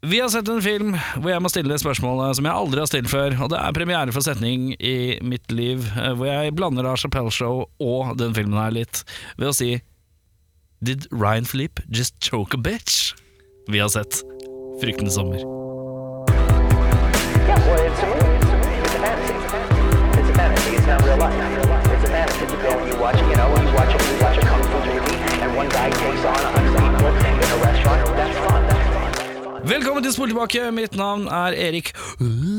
Vi har sett en film hvor jeg må stille det spørsmålet som jeg aldri har stilt før. Og det er premiere for setning i mitt liv eh, hvor jeg blander av Chappelle Show og den filmen her litt ved å si Did Ryan Flip just choke a bitch? Vi har sett Fryktens sommer. Yeah, well, it's a movie. It's a movie. It's a fantasy. It's a fantasy. It's not real life. It's a fantasy. You go and you watch, you know, you watch, you watch a kung fu movie, and one guy takes on a hundred people in a restaurant. That's fun. That's fun. That's fun. Velkommen til Spol tilbake. Mitt navn er Erik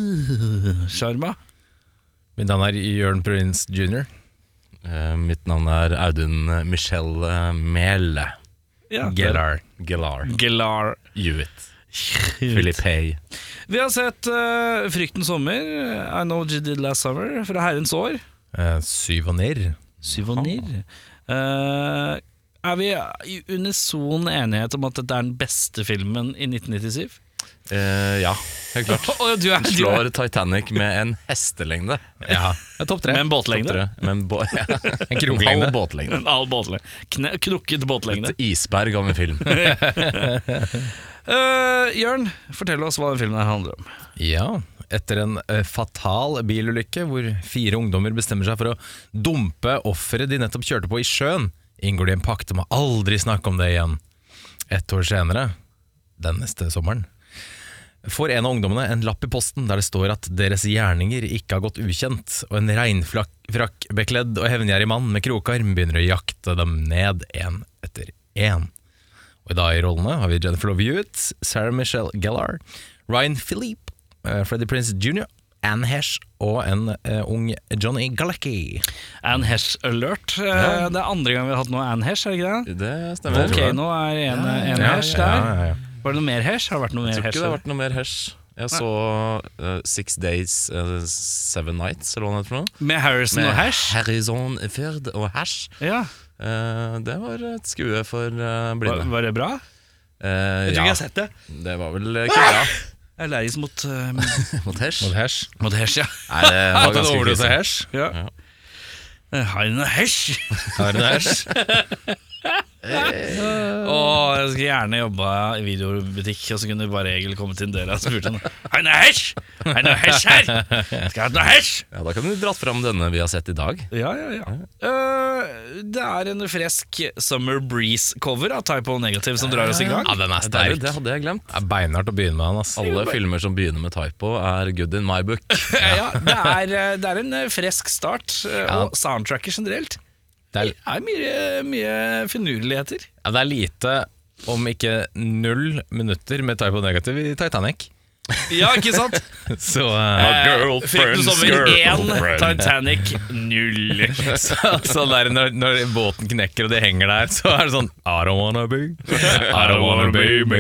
Sjarma. Mitt navn er Jørn Prince jr. Eh, mitt navn er Audun Michelle eh, Mehl. Ja, det er- Gellar. Gellar. Gellar. Hewitt. Philip Hay. Vi har sett eh, Fryktens sommer, I Know What You Did Last Summer, fra herrens år. Uh, Syvanir. Syvonir. Eh, er vi i unison enighet om at dette er den beste filmen i 1997? Eh, ja, helt klart. du er, Slår Titanic med en hestelengde. Ja, Topp tre. Med en båtlengde. Tror jeg. Men bå en kroglengde. Halv båtlengde. En halv båtlengde. Kne knukket båtlengde. Et isberg av en film. Eh, Jørn, fortell oss hva den filmen her handler om. Ja, etter en eh, fatal bilulykke hvor fire ungdommer bestemmer seg for å dumpe offeret de nettopp kjørte på i sjøen, inngår de en pakt om å aldri snakke om det igjen. Ett år senere, den neste sommeren, får en av ungdommene en lapp i posten der det står at deres gjerninger ikke har gått ukjent, og en regnfrakkbekledd og hevngjerrig mann med krokarm begynner å jakte dem ned én etter én. Og i dag i rollene har vi Jennifer Love Hewitt, Sarah Michelle Gellar, Ryan Philippe, eh, Freddie Prince Jr., Anne Hesh og en eh, ung Johnny Galecki. Anne Hesh alert. Eh, Det er andre gang vi har hatt noe Anne Hesh, er det ikke det? Det stemmer. jeg tror det. Volcano er en, en ja, Hesh ja, der. ja, ja. Var det noe mer Hesh? Har det vært noe Jeg mer tror Hesh? ikke det har vært noe mer hash. Jeg så eh, Six Days eh, Seven Nights, eller hva det heter for noe. Med Harrison og Hesh? Harrison Fyrd og hash. Ja. Eh, det var et skue for eh, Var, blinde. var det bra? Eh, Jeg tror ikke ja, jeg har sett det. det var vel eh, ikke bra. Jeg er allergisk mot, eh, Mot hash. Og Hesh. mot Hesh, ja. Nei, det var Tatt en ganske overdose krise. Hesh. ja. Eh, Har du noe Hesh? Har en Hesh. Eh. Åh, jeg skulle gjerne jobba i videobutikk, og så kunne bare Egil kommet inn døra og spurt han Har du noe Hesh? Har du noe Hesh her? Skal jeg ha noe Hesh? Ja, da kan du dratt fram denne vi har sett i dag. Ja, ja, ja. Eh, det er en fresk Summer Breeze-cover av Typo Negative som drar oss i gang. Ja, den er Det, er jo- sterk. det hadde jeg glemt. Det er beinhardt å begynne med den, ass. Alle filmer som begynner med typo, er good in my book. Ja, ja, det, er, eh, det er en eh, fresk start, eh, og soundtracket generelt Det er, er mye, mye finurligheter. ja, det er lite, om ikke null minutter med typo negativ i Titanic. Ja, ikke sant? Så, Eh, eh, Fryktens sommer 1, Titanic 0. så, så der, når, når båten knekker og de henger der, så er det sånn I don't wanna be, I don't wanna be me.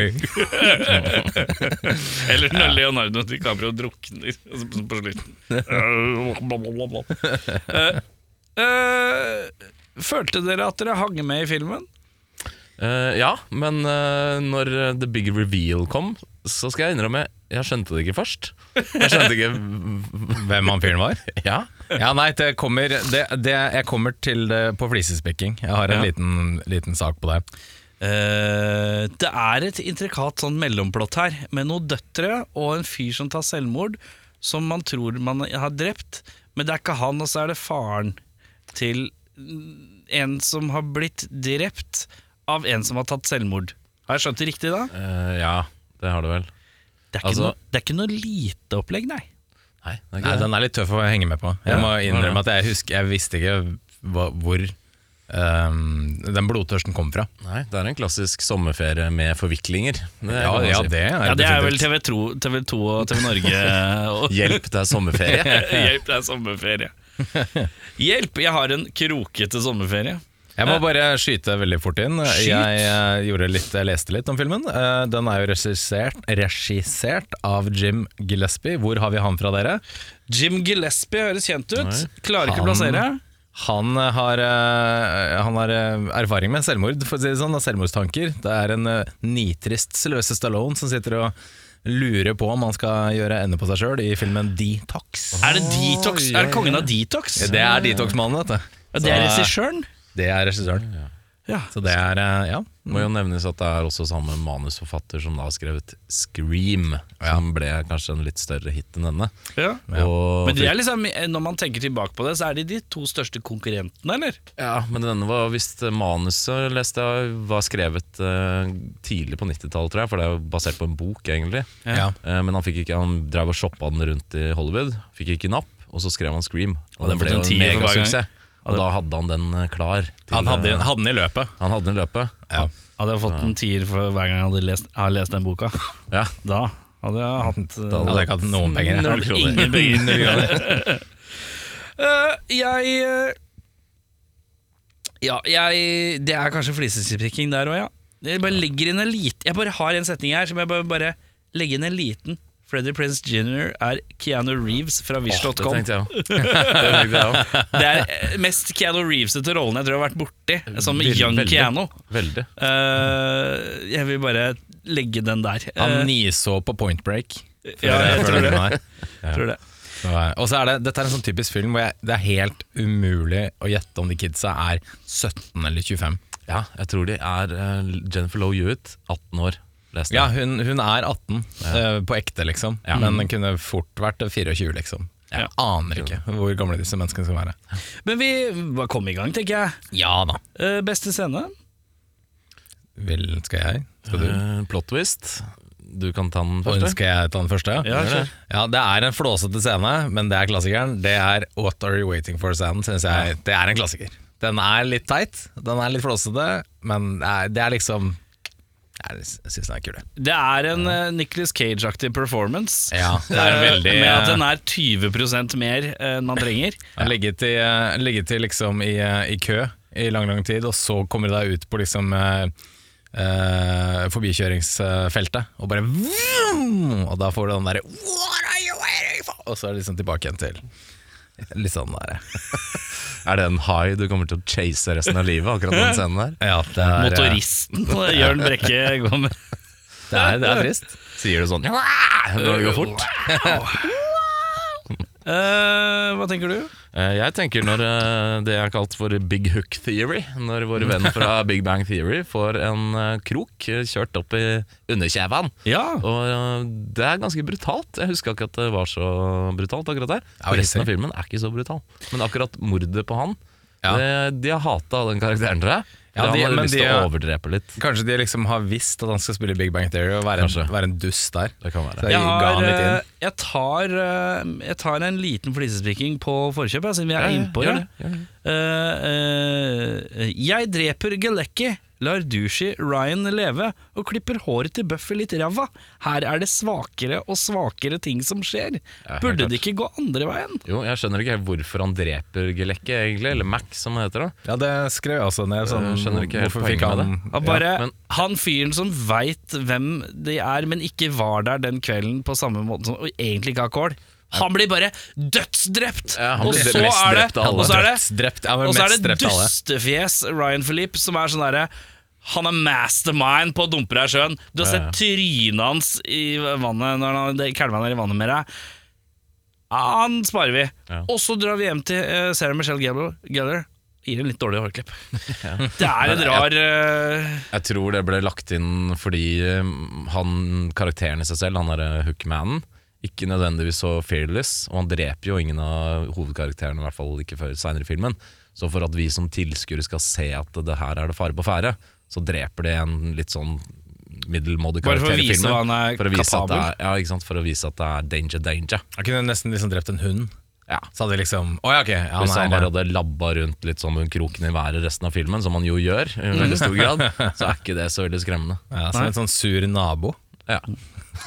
Eller når Leonardo DiCaprio drukner altså, på slutten. Eh, eh, følte dere at dere hang med i filmen? Eh, ja, men eh, når eh, the big reveal kom, så skal jeg innrømme jeg skjønte det ikke først. Jeg skjønte ikke Hvem han fyren var? Ja. Ja, nei, det kommer, det, det, jeg kommer til det på flisespikking. Jeg har en Ja. liten, liten sak på det. Eh, det er et intrikat sånn mellomplott her, med noen døtre og en fyr som tar selvmord, som man tror man har drept, men det er ikke han, og så er det faren til en som har blitt drept av en som har tatt selvmord. Har jeg skjønt det riktig da? Eh, ja, det har du vel. Det er ikke, Altså- noe, det er ikke noe lite opplegg, nei. Nei, det er Nei, ikke det. den er litt tøff å henge med på. Jeg Ja. må innrømme at jeg husker Jeg visste ikke hva, hvor ehm, den blodtørsten kom fra. Nei, det er en klassisk sommerferie med forviklinger. Det Ja, kan man ja si. det er Ja, det er vel definitivt. TV 2, TV 2 og TV Norge og Hjelp, det er sommerferie. Hjelp, det er sommerferie. Hjelp, jeg har en krokete sommerferie. Jeg må bare skyte veldig fort inn. Skyt! Jeg, eh, gjorde litt, jeg leste litt om filmen. Eh, Den er jo regissert, regissert av Jim Gillespie. Hvor har vi han fra, dere? Jim Gillespie høres kjent ut. Nei. Klarer ikke å Han- plassere. Han har, eh, han har eh, erfaring med selvmord, for å si det sånn, og selvmordstanker. Det er en eh, nitrist Sylvester Stallone som sitter og lurer på om han skal gjøre ende på seg sjøl i filmen Detox. Er det Detox? ja, Er det kongen av Detox? Det er Detox-mannen, vet du. Ja, det er Så, eh, regissøren. Det er regissøren. Ja. Så det er eh, Ja. Må jo nevnes at det er også samme manusforfatter som da har skrevet 'Scream', som ble kanskje en litt større hit enn denne. Ja. Og, Men de er liksom, når man tenker tilbake på det, så er de de to største konkurrentene, eller? ja, men denne var visst eh, manuset leste jeg, var skrevet eh, tidlig på 90-tallet, tror jeg, for det er jo basert på en bok, egentlig. ja. Eh, men han, fikk ikke, han drev og shoppa den rundt i Hollywood, fikk ikke napp, og så skrev han 'Scream'. Og, den den ble fått jo en en tier for hver gang. megasuksess. Og da hadde han den eh, klar. til- Han hadde, hadde den i løpet. han hadde den i løpet. Ja. Hadde jeg fått en tier for hver gang jeg hadde lest, har lest den boka, Ja. da hadde jeg hatt eh, Hadde jeg ikke hatt noen penger. null jeg. kroner. Ingen penger. Null kroner. Eh, jeg eh, Ja, jeg Det er kanskje flisespikking der òg, ja. Jeg bare legger inn en liten Jeg bare har en setning her som jeg bare, bare legger inn en liten. Freddy Prince Jr. er Keanu Reeves fra Åh, det Wish.com. tenkte jeg òg. Det tenkte jeg også. det er eh, mest Keanu Reeves-ete rollen jeg tror jeg har vært borti, eh, som Veldig, Young veldig. Keanu. Veldig. Eh, jeg vil bare legge den der. Eh, Han niså på Point Break. ja, jeg tror det. Jeg tror det. Det var- Og så er det, Dette er en sånn typisk film hvor jeg, det er helt umulig å gjette om de kidsa er 17 eller 25. Ja, jeg tror de er eh, Jennifer Lowe Hewitt, 18 år. leste jeg. Ja, hun, hun er 18 eh, på ekte, liksom. Men hun kunne fort vært 24, liksom. Jeg Ja. aner ikke hvor gamle disse menneskene skal være. Men vi bare kom i gang, tenker jeg. Ja da. Eh, beste scene? Vel, skal jeg? Skal du? Eh, plot twist. Du kan ta den Og første. Skal jeg ta den første? Ja, kjør. ja, Det er en flåsete scene, men det er klassikeren. Det er What Are You Waiting For-scenen, syns jeg. Det er en klassiker. Den er litt teit, den er litt flåsete, men det er, det er liksom Jeg syns den er kul, jeg. Det er en uh, Nicholas Cage-aktig performance. Ja, det er Eh, veldig, Med at eh, den er 20 mer enn man trenger. Jeg Ligget i, eh, ligget i, liksom i, eh, i kø i lang, lang tid, og så kommer du deg ut på liksom eh, eh, forbikjøringsfeltet, og bare vroom, Og da får du den derre What are you waiting for? Og så er det liksom tilbake igjen til Litt sånn der Er det en high du kommer til å chase resten av livet? Akkurat den scenen der ja, det er, eh, Motoristen Jørn Brekke går med. Det er, det er trist. Sier du sånn Når det går fort? Eh, hva tenker du? Eh, Jeg tenker når eh, det er kalt for big hook theory. Når vår venn fra Big Bang Theory får en eh, krok eh, kjørt opp i underkjeven. Ja, Og eh, det er ganske brutalt. Jeg husker ikke at det var så brutalt akkurat der. Ja, For resten av riktig. filmen er ikke så brutal. Men akkurat mordet på han Ja. det, De har hata den karakteren, tror jeg. Ja, Ja, de- han men hadde lyst de til å er- overdrepe litt. Kanskje de liksom har visst at han skal spille Big Bang Theory og være Kanskje. en, være en dust der. Det kan være. Så jeg jeg, ga har, han litt eh, inn. jeg, tar, eh, jeg tar en liten flisespikking på forkjøp, jeg, siden vi er innpå gjør det. Eh, eh, jeg dreper Galecki, lar Dushi Ryan leve og klipper håret til Buffy litt ræva. Her er det svakere og svakere ting som skjer. Ja, helt Burde klart. det ikke gå andre veien? Jo, jeg skjønner ikke helt hvorfor han dreper Gelekke, egentlig. Eller Mac, som han heter. da Ja, det skrev jeg også ned. Sånn, Jeg skjønner ikke helt hvorfor fikk poenget med han Ja, bare men- Han fyren som veit hvem de er, men ikke var der den kvelden på samme måte som og egentlig ikke har kål. Han blir bare dødsdrept! Ja, han og, blir så mest er det, drept av alle. og så er det Drept, ja, men Og så er mest det drept av alle. dustefjes Ryan Philippe som er sånn derre han er mastermind på å dumpe deg i sjøen. Du har sett trynet hans i vannet når han det- kælma ned i vannet med deg. Han sparer vi. Ja. Og så drar vi hjem til eh, Sarah Michelle Gellar. Gellar. Gir en litt dårlig hårklipp. Det er en rar eh, Jeg tror det ble lagt inn fordi um, han karakteren i seg selv, han derre hookmanen, ikke nødvendigvis så fearless, og han dreper jo ingen av hovedkarakterene, i hvert fall ikke før seinere i filmen. Så for at vi som tilskuere skal se at det her er det fare på ferde, så dreper de en litt sånn middelmådig Bare for å karakter i vise filmen. hva han er for å vise at det kapabel. er, ja, ikke sant? For å vise at det er danger, danger. Han kunne nesten liksom drept en hund. Ja. Så hadde vi liksom Å ja, ok. Ja, Hvis han nei, bare hadde labba rundt litt sånn med kroken i været resten av filmen, som han jo gjør, i veldig stor grad, så er ikke det så veldig skremmende. ja, Som en sånn sur nabo. Ja.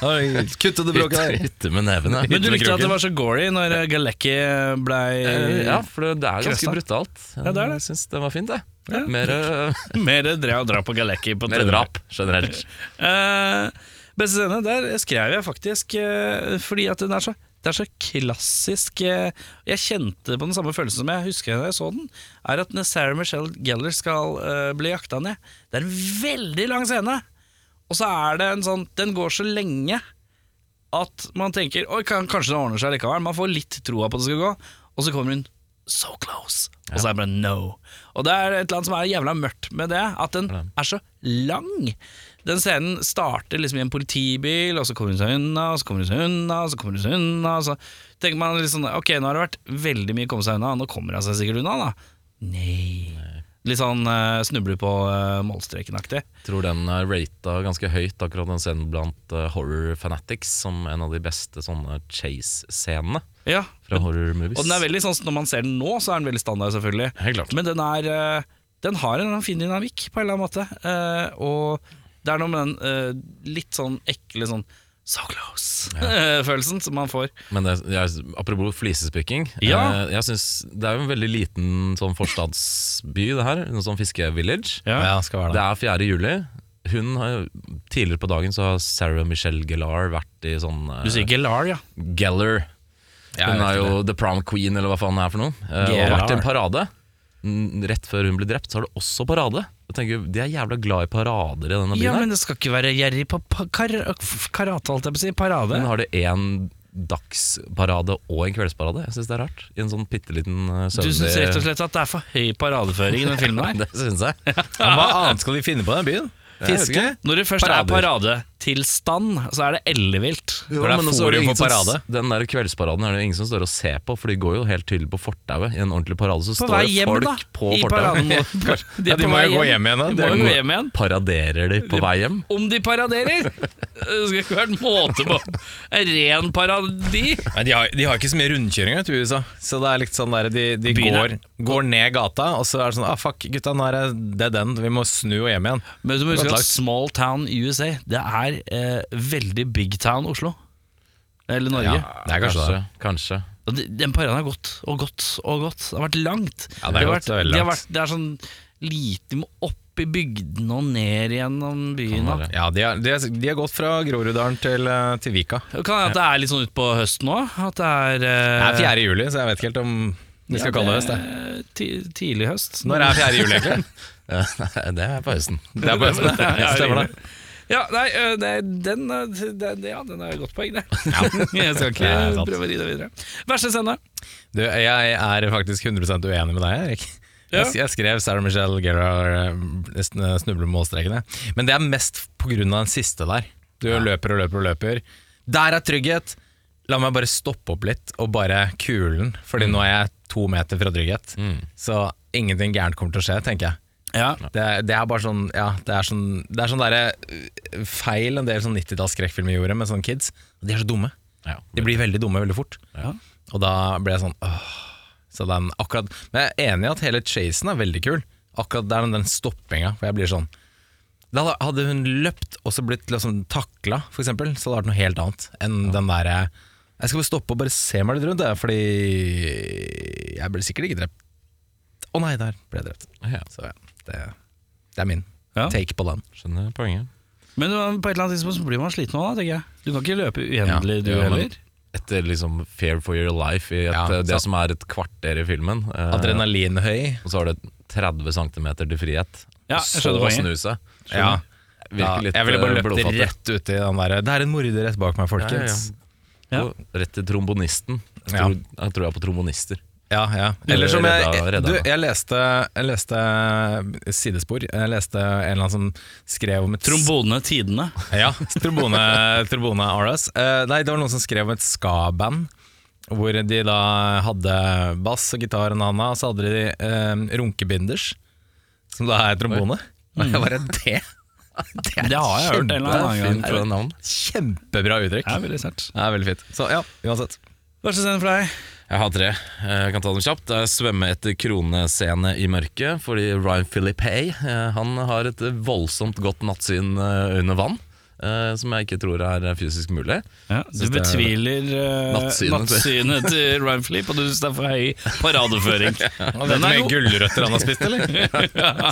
Kutt ut det Hytte, hytte med neven, ja. Men du likte at det var så gory når eh, Galecki blei Eh, Ja, for det, det er ganske Krøsta. brutalt. Eh, det er det. Jeg syns det var fint, det. Mer, eh, Mer dra- drap på Galecki. på mer Tønder. drap generelt. Eh, beste scene, der skrev jeg faktisk eh, fordi at den er så det er så klassisk eh, Jeg kjente på den samme følelsen som jeg husker da jeg så den. Er at når Sarah Michelle Gellar skal eh, bli jakta ned Det er en veldig lang scene. Og så er det en sånn Den går så lenge at man tenker Oi, kan, kanskje det ordner seg likevel. Man får litt troa på at det skal gå. Og så kommer hun so close. Og så er det bare no. Og det er et eller annet som er jævla mørkt med det, at den er så lang. Den scenen starter liksom i en politibil, og så kommer hun seg unna, og så kommer hun seg unna, og så kommer hun seg unna. Og så tenker man liksom Ok, nå har det vært veldig mye å komme seg unna, nå kommer hun seg sikkert unna, da. Nei. Litt sånn uh, snubler på eh, målstreken-aktig. Tror den er rata ganske høyt, akkurat den scenen blant eh, horror fanatics, som en av de beste sånne chase-scenene Ja, fra horror movies. Og den er veldig sånn, når man ser den nå, så er den veldig standard, selvfølgelig. Helt klart. Men den, er, eh, den har en eller annen fin dynamikk, på en eller annen måte. Eh, og det er noe med den eh, litt sånn ekle sånn so close-følelsen som man får. Men det, jeg, apropos flisespikking Ja. eh, jeg synes Det er jo en veldig liten sånn forstadsby, det her. En sånn fiskevillage. Ja. Ja, skal være Det det. er 4. juli. Hun har, tidligere på dagen så har Sarah Michelle Gellar vært i sånn eh, Du sier Gellar, ja. Geller. Ja, jeg hun vet er ikke jo The Prom Queen, eller hva faen det er for noe. eh, og har Gerard. vært i en parade. Mm, Rett før hun ble drept, så har det også parade. Jeg tenker, De er jævla glad i parader i denne byen. Ja, her. men det skal ikke være gjerrig på pa- kar karate, holdt jeg på å si. Parade. Men har det én dagsparade og en kveldsparade? Jeg syns det er rart. I en sånn bitte liten Du søvnig syns rett og slett at det er for høy paradeføring i den filmen her? sånn, eh, Det syns jeg. Men Hva annet skal de finne på den byen? vet Fiske? ikke. Når det først Parader. er paradetilstand, så er det ellevilt. Hvor det er men også det forum ingen for som- parade. Den der kveldsparaden er det ingen som står og ser på, for de går jo helt tydelig på fortauet. I en ordentlig parade så På står vei det hjem, folk da. på i fortauet. paraden. Ja, de på må vei jo gå hjem igjen, da. De Det må er jo god- gå hjem igjen. Paraderer de på vei hjem? Om de paraderer! Det skulle ikke vært måte på. En ren paradi. Nei, de, har, de har ikke så mye rundkjøringer vet du, i USA. Så det er litt sånn der, de, de Byen går, er- går ned gata, og så er det sånn ah, Fuck, gutta, nå er det, det er den. Vi må snu og hjem igjen. Men du må huske at Ødelagt. small town USA, det er eh, veldig big town Oslo. Eller Norge. det er kanskje det. Kanskje. Og de- Den paraden har gått og gått og gått. Det har vært langt. Ja, det har gått vært, veldig det, har langt. vært, det er sånn lite må opp i bygdene og ned gjennom byen. Kan da. Ja, de har, de, har, de har gått fra Groruddalen til, eh, til Vika. Det Kan hende at det er litt sånn utpå høsten òg. At det er, eh, Det er 4. juli, så jeg vet ikke helt om vi skal kalle det høst. det. eh, ti- Tidlig høst. Når er 4. juli, egentlig? Ja, nei, det er på høsten. Det er på høsten, det. Ja, Stemmer det. Ja, nei, ø, det, den, ø, den, ja, den er et godt poeng, det. Jeg skal ikke Det er sant. prøve å ri det videre. Verste scene. Du, jeg er faktisk 100 uenig med deg, Erik. Ja. Jeg, s- jeg skrev Sarah Michelle Gellar eh, sn- snubler med målstrekene. Men det er mest pga. den siste der. Du løper og løper og løper. Der er trygghet! La meg bare stoppe opp litt og bare kulen, Fordi nå er jeg to meter fra trygghet. Så ingenting gærent kommer til å skje, tenker jeg. Ja. Det, er- det er bare sånn Ja, det er sånn Det er sånn derre øh, feil en del sånn 90-talls-skrekkfilmer gjorde med sånne kids. De er så dumme. Ja. De blir veldig dumme veldig fort. Ja. Og da ble jeg sånn åh. Så den akkurat Men jeg er enig i at hele chasen er veldig kul. Akkurat der med den stoppinga, for jeg blir sånn Da hadde- hadde hun løpt og så blitt liksom takla, for eksempel, så hadde det vært noe helt annet enn den derre Jeg skal bare stoppe og bare se meg litt rundt, jeg, fordi jeg ble sikkert ikke drept. Å nei, der ble jeg drept. Ja, Så ja, det, det er min Ja. take på den. skjønner poenget. Men ø, på et eller annet tidspunkt så blir man sliten òg, tenker jeg. Du kan ikke løpe uendelig, Ja, du ja, men- heller. Etter liksom Fair for your life i et, Ja, eh, det sant. som er et kvarter i filmen. eh, Adrenalinhøy. Og så har du 30 cm til frihet. Ja, jeg og så skjønner poenget. snu seg. Ja. Ja, Virker litt jeg ville bare eh, løpt blodfattig. rett ut i den derre Det er en morder rett bak meg, folkens. Ja. Og Rett til trombonisten. Jeg Ja. tror, jeg tror jeg er på trombonister. Ja, ja. Eller som jeg, Redda- redda du, meg. jeg leste, jeg leste eh, sidespor. Jeg leste en eller annen som skrev om et Trombone Tidene. Ja, trombone, trombone RS. Eh, nei, det var noen som skrev om et ska-band. Hvor de da hadde bass og gitar og nana, og så hadde de eh, runkebinders. Som da er trombone. Og jeg bare det! Det er Det har jeg hørt en eller annen kjempe- gang. Fint for navn. Kjempebra uttrykk. Det er veldig sterkt. Det er veldig fint. Så ja, uansett. Verste scene for deg? Jeg har tre. Jeg kan ta dem kjapt. Det er svømme etter kronescene i mørket, fordi Ryan Philippe eh, han har et voldsomt godt nattsyn eh, under vann. eh, Som jeg ikke tror er fysisk mulig. Ja, du Synes det er- betviler ø, Nattsynet. nattsynet til Ryan Philippe, og du syns det er for høy paradeføring. Vet du Den er hvor mye god. gulrøtter han har spist, eller?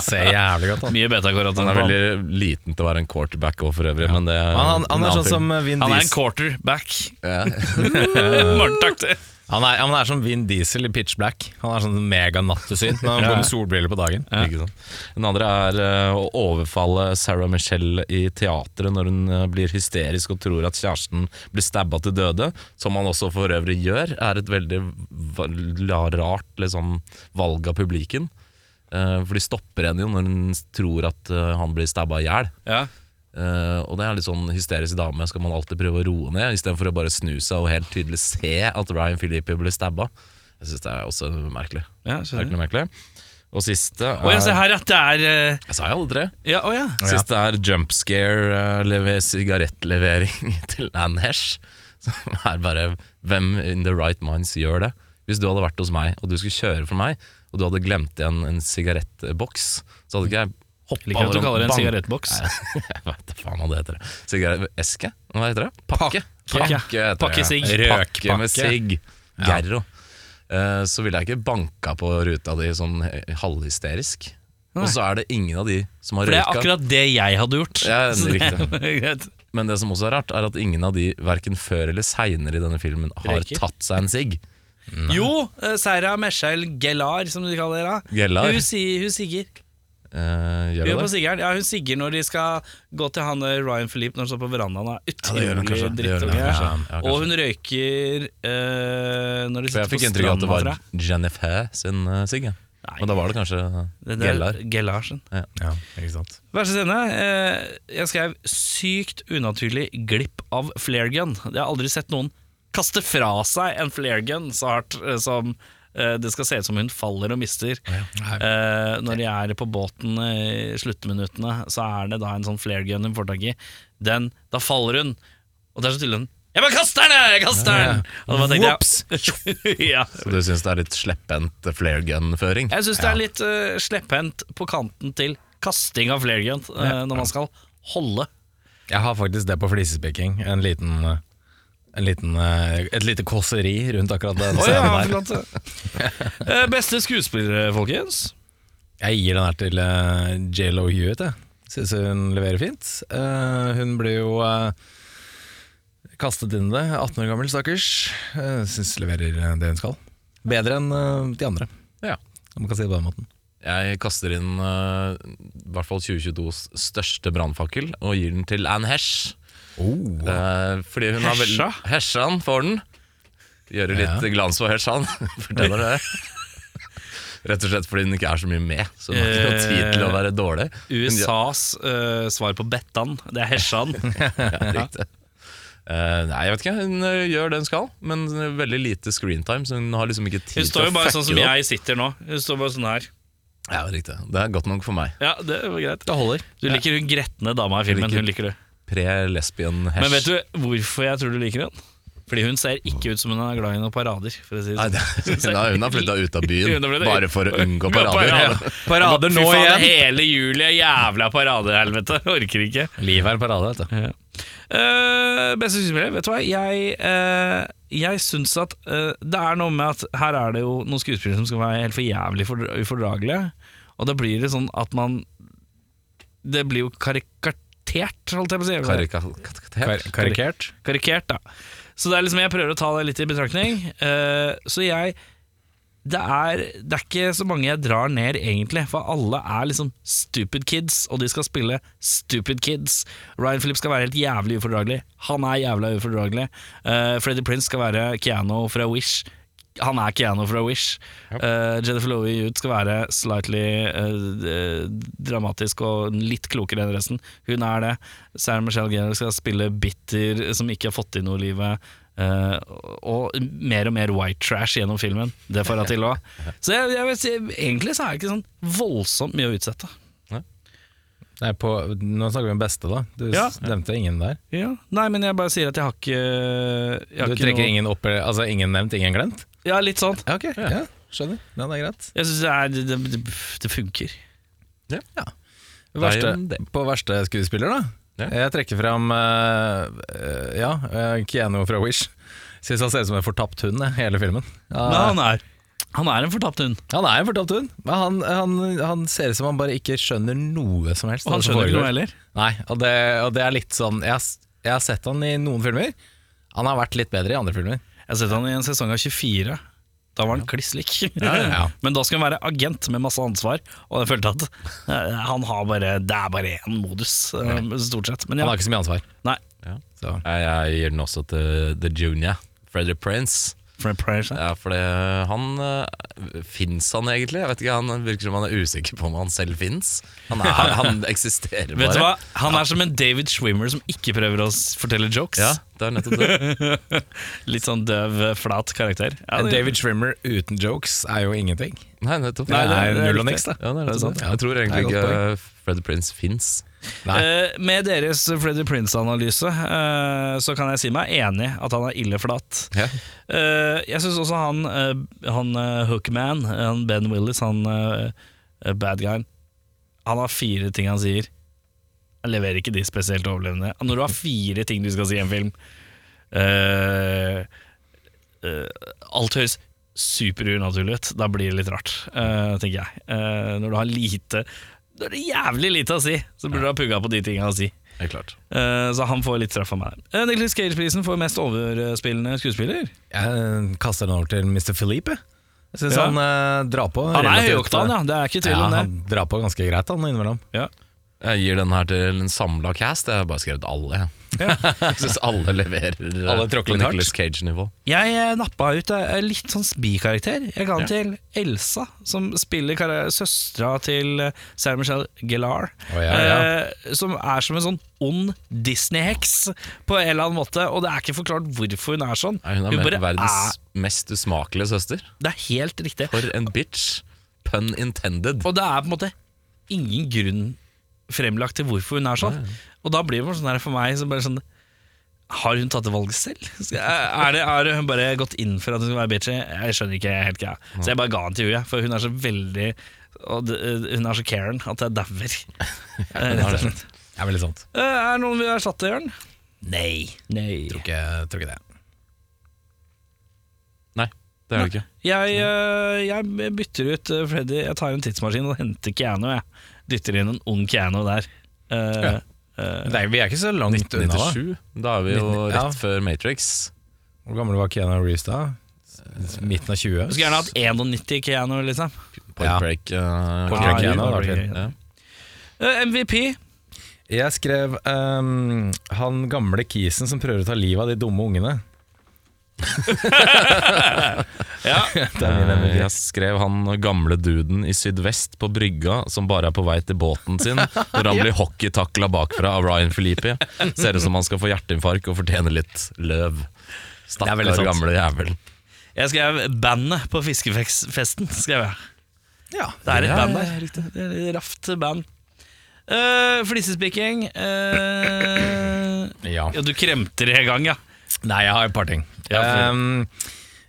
Ser jævlig godt ut. Mye betakarotin. Han er veldig liten til å være en quarterback også, for øvrig, men det er Han, han, en han er annen sånn film. som Vin Han er en Diesel. quarterback. Ja. Morgentaktig. Han er, ja, men han er som Vin Diesel i Pitch Black. Han er sånn meganattesyn, men han Ja. går med solbriller på dagen. Ikke sant? Den andre er eh, å overfalle Sarah Michelle i teatret når hun eh, blir hysterisk og tror at kjæresten blir stabba til døde, som han også for øvrig gjør, er et veldig va- la- rart liksom, valg av publikum. Eh, for de stopper henne jo når hun tror at eh, han blir stabba i hjel. Ja. Eh, og det er litt sånn hysterisk dame skal man alltid prøve å roe ned, istedenfor å bare snu seg og helt tydelig se at Ryan Philippi blir stabba. Jeg syns det er også merkelig. Ja, skjønner. Merkelig, merkelig. Og siste er, Å ja, se her, at det er eh, Jeg sa jo alle tre. Ja, å ja. Siste er jump scare, eh, leve- sigarettlevering til Anne Hesh. Som er bare Hvem in the right minds gjør det? Hvis du hadde vært hos meg, og du skulle kjøre for meg, og du hadde glemt igjen en sigarettboks, så hadde ikke jeg hoppa Liker at du over og kaller det en bang- sigarettboks. jeg vet da faen hva det heter. Sigaretteske? Hva heter det? Pakke. Pakke. heter det. Pakkesigg. Pakke Røkpakke. med sigg. Gerro. Eh, Så ville jeg ikke banka på ruta di sånn he- halvhysterisk. Og så er det ingen av de som har For det er røyka. akkurat det jeg hadde gjort. Ja, det er Så riktig. er greit. Men det som også er rart, er at ingen av de verken før eller seinere i denne filmen har Røyker. tatt seg en sigg. Jo, eh, Sarah Meshel Gellar, som de kaller det. da. Gellar? Hun, si, hun sigger. Eh, Hun, er gjør på det det? siggeren. ja, hun sigger når de skal gå til han eh, Ryan Philippe når han står på verandaen. da. det gjør hun Utrolig kanskje. Det gjør hun drittunge. kanskje. Ja, ja, kanskje. Og hun røyker eh, når de For jeg sitter fikk på inntrykk av at stranda, det tror var jeg. Jennifer sin eh, sigg. ja. Nei. Men da var det kanskje Det der- sånn. Gellar. Gellarsen. Ja, ikke sant Verste scene. eh, Jeg skrev 'sykt unaturlig glipp av flaregun'. Jeg har aldri sett noen kaste fra seg en flaregun så hardt eh, som eh, det skal se ut som hun faller og mister. Eh, Når de er på båten eh, i sluttminuttene, så er det da en sånn flaregun hun får tak i. Den, da faller hun, og det er så tydelig hun Jeg bare kaster den! jeg, Jeg kaster den! Og da bare tenkte jeg ja. Så du syns det er litt slepphendt flare gun-føring? Jeg syns det er litt uh, slepphendt på kanten til kasting av flaregun eh, når man skal holde. Jeg har faktisk det på flisespekking. En liten, eh, en liten eh, Et lite kåseri rundt akkurat den Å ja, scenen der. forlåt. Eh, Beste skuespiller, folkens. Jeg gir den her til eh, J.Lo Hewitt. Jeg syns hun leverer fint. Eh, hun blir jo eh, kastet inn i det. 18 år gammel, stakkars. Uh, syns leverer eh, det hun skal. Bedre enn eh, de andre, Ja. om man kan si det på den måten. Jeg kaster inn eh, i hvert fall 2022s største brannfakkel og gir den til Anne Hesh. Eh, fordi hun har vel- Hesja? Hesjan får den. Gjøre litt glans for Hesjan. Forteller det. Rett og slett fordi hun ikke er så mye med, så hun har ikke noe tid til å være dårlig. Hun gjør- USAs eh, svar på Bettan. Det er Hesjan. Ja, riktig. Eh, nei, jeg vet ikke. Hun eh, gjør det hun skal, men eh, veldig lite screentime. Så hun har liksom ikke tid Hun står til å jo bare fucke sånn som det opp. jeg sitter nå. Hun står bare sånn her. Ja, riktig. Det er godt nok for meg. Ja, det var greit. Det holder. Du liker hun gretne dama i filmen. liker- Hun liker det. Pre-lesbian-hesh. Men vet du hvorfor jeg tror du liker henne? Fordi hun ser ikke ut som hun er glad i noen parader. For å si Nei, det det, sånn. hun har- hun har flytta ut av byen Hun har flyttet bare ut. for å unngå Unngå parader. parader. Parader nå Fy faen, igjen! hele juli er jævla paradehelvete. Orker ikke. Livet er en parade, vet du. Ja. Eh, beste skuespiller, vet du hva? Jeg, eh, jeg syns at eh, det er noe med at her er det jo noen skuespillere som skal være helt for jævlig fordra- ufordragelige. Og da blir det sånn at man Det blir jo karikatert, holdt jeg på å si. Karikatet. Kar karikert. Karikert, da. Så det er liksom, jeg prøver å ta det litt i betraktning. Eh, så jeg det er, det er ikke så mange jeg drar ned, egentlig. For alle er liksom stupid kids, og de skal spille stupid kids. Ryan Phillips skal være helt jævlig ufordragelig. Han er jævla ufordragelig. Eh, Freddie Prince skal være Keanu fra Wish. Han er Keanu fra Wish. Eh, Jennifer Lowe Hewitt skal være slightly eh, eh, dramatisk og litt klokere enn resten. Hun er det. Sarah Michelle Gellar skal spille bitter som ikke har fått til noe i livet. Eh, og mer og mer white trash gjennom filmen. Det får jeg til òg. Så jeg, jeg vil si, egentlig så er det ikke sånn voldsomt mye å utsette. Nei, på, nå snakker vi om beste, da. Du Ja. s- nevnte ingen der. Nei, men jeg bare sier at jeg har ikke jeg har Du ikke trekker noe- ingen opp, eller- altså ingen nevnt, ingen glemt? Ja, litt sånn. Ja, ok. Ja, skjønner. Ja, det er greit. Jeg syns det, er- det, det, det funker. Det er Verste, jo det. på verste skuespiller, da? Ja. Jeg trekker fram eh, eh, ja, eh, Keanu fra Wish. Syns han ser ut som en fortapt hund jeg, hele filmen. Men Ja, han er, han er en fortapt hund. han er en fortapt hund, men han, han, han ser ut som han bare ikke skjønner noe som helst. Og av han det som skjønner ikke foregår. noe heller. Nei, og det, og det er litt sånn jeg, har s- jeg har sett han i noen filmer. Han har vært litt bedre i andre filmer. Ja, Jeg har sett han i en sesong av 24. Da var han kliss lik. ja, ja. Men da skal han være agent med masse ansvar, og jeg følte at eh, han har bare Det er bare én modus, eh, stort sett. Men Han ja. har ikke så mye ansvar. Nei. Så. Jeg, jeg gir den også til The Junior, Freddy Prince. Fred Pryor, ja. Ja, for det, han uh, Fins han egentlig? Jeg vet ikke, Han virker som han er usikker på om han selv fins. Han, er- han eksisterer bare. Vet du hva? Han er som en David Schwimmer som ikke prøver å s- fortelle jokes. Ja, det er nettopp det. Litt sånn døv, eh, flat karakter. Ja, det- David Schwimmer uten jokes er jo ingenting. Nei, nettopp Nei, det er, det er null og riktig. niks, da. Ja, det er nettopp sant. det. Jeg tror Det er egentlig godt ikke uh, Fred Prince fins. Nei. Eh, med deres Freddy Prince-analyse eh, så kan jeg si meg enig at han er ille flat. Ja. Eh, jeg syns også han, eh, han eh, Hookman, eh, han Ben Willis, han eh, eh, bad guyen Han har fire ting han sier. Han leverer ikke de spesielt overlevende. Når du har fire ting du skal si i en film eh, eh, Alt høres superunaturlig ut. Da blir det litt rart, eh, tenker jeg. Eh, når du har lite Når det er jævlig lite å si, så burde du ha pugga på de tinga å si. Helt klart. Eh, så han får litt straff av meg. Uh, Nicholas Cage-prisen for mest overspillende skuespiller. Jeg kaster den over til Mr. Felipe. Jeg syns Ja. han eh, drar på. Han er relativt- eh, høyoktan, ja. Det er ikke tvil Ja, om det. han drar på ganske greit han innimellom. Ja. Jeg gir den her til en samla cast. Jeg har bare skrevet alle. jeg. Jeg syns alle leverer uh, Alle tråkker på litt hardt. Nicolas Cage-nivå. Jeg eh, nappa ut eh, en litt sånn spikarakter. Jeg ga den til Elsa, som spiller kar- søstera til eh, Sarah Michelle Gellar. Å, ja, ja. Eh, som er som en sånn ond Disney-heks på en eller annen måte. Og det er ikke forklart hvorfor hun er sånn. Nei, Hun er bare verdens mest usmakelige søster. er Det er helt riktig. For en bitch. Pun intended. Og det er på en måte ingen grunn fremlagt til hvorfor hun er sånn. Og da blir det bare sånn her for meg så bare sånn Har hun tatt det valget selv? Skal- Er det, er hun bare gått inn for at hun skal være bitchy? Jeg skjønner ikke helt greia. Så jeg bare ga den til henne, jeg, for hun er så veldig og det, Hun er så Karen at jeg dauer. Eh, Rett og slett. Det er veldig sant. Eh, Er det noen vi har satt til, Jørn? Nei. Nei. Tror ikke, tror ikke det. Nei, det er det ikke. Jeg, eh, jeg bytter ut eh, Freddy. Jeg tar en tidsmaskin og henter Keanu. Jeg dytter inn en ung Keanu der. Eh, Ja. eh, Nei, vi er ikke så langt unna. da. 97. Da er vi jo 19, rett ja. før Matrix. Hvor gammel var Keanu Reeves da? Eh, Midten av 20? Du skulle gjerne hatt 91 Keanu, liksom. Point Ja. Break. eh, Point Ja, Break det Keanu var hadde vært gøy. fint. ja. Eh, MVP. Jeg skrev ehm, han gamle kisen som prøver å ta livet av de dumme ungene. Ja. Det er min Eh, MVP. Jeg skrev han gamle duden i sydvest på brygga som bare er på vei til båten sin, når han blir hockeytakla bakfra av Ryan Felipe. Ser ut som han skal få hjerteinfarkt og fortjene litt løv. veldig Stakkar sant. gamle jævel. Jeg skrev bandet på fiskefesten. skrev jeg Ja. Det er et Ja, band der. Det er et Raft band. Uh, Flisespikking eh, ja. Ja, du kremter i gang, ja. Nei, jeg har et par ting. Ja, for- Ehm,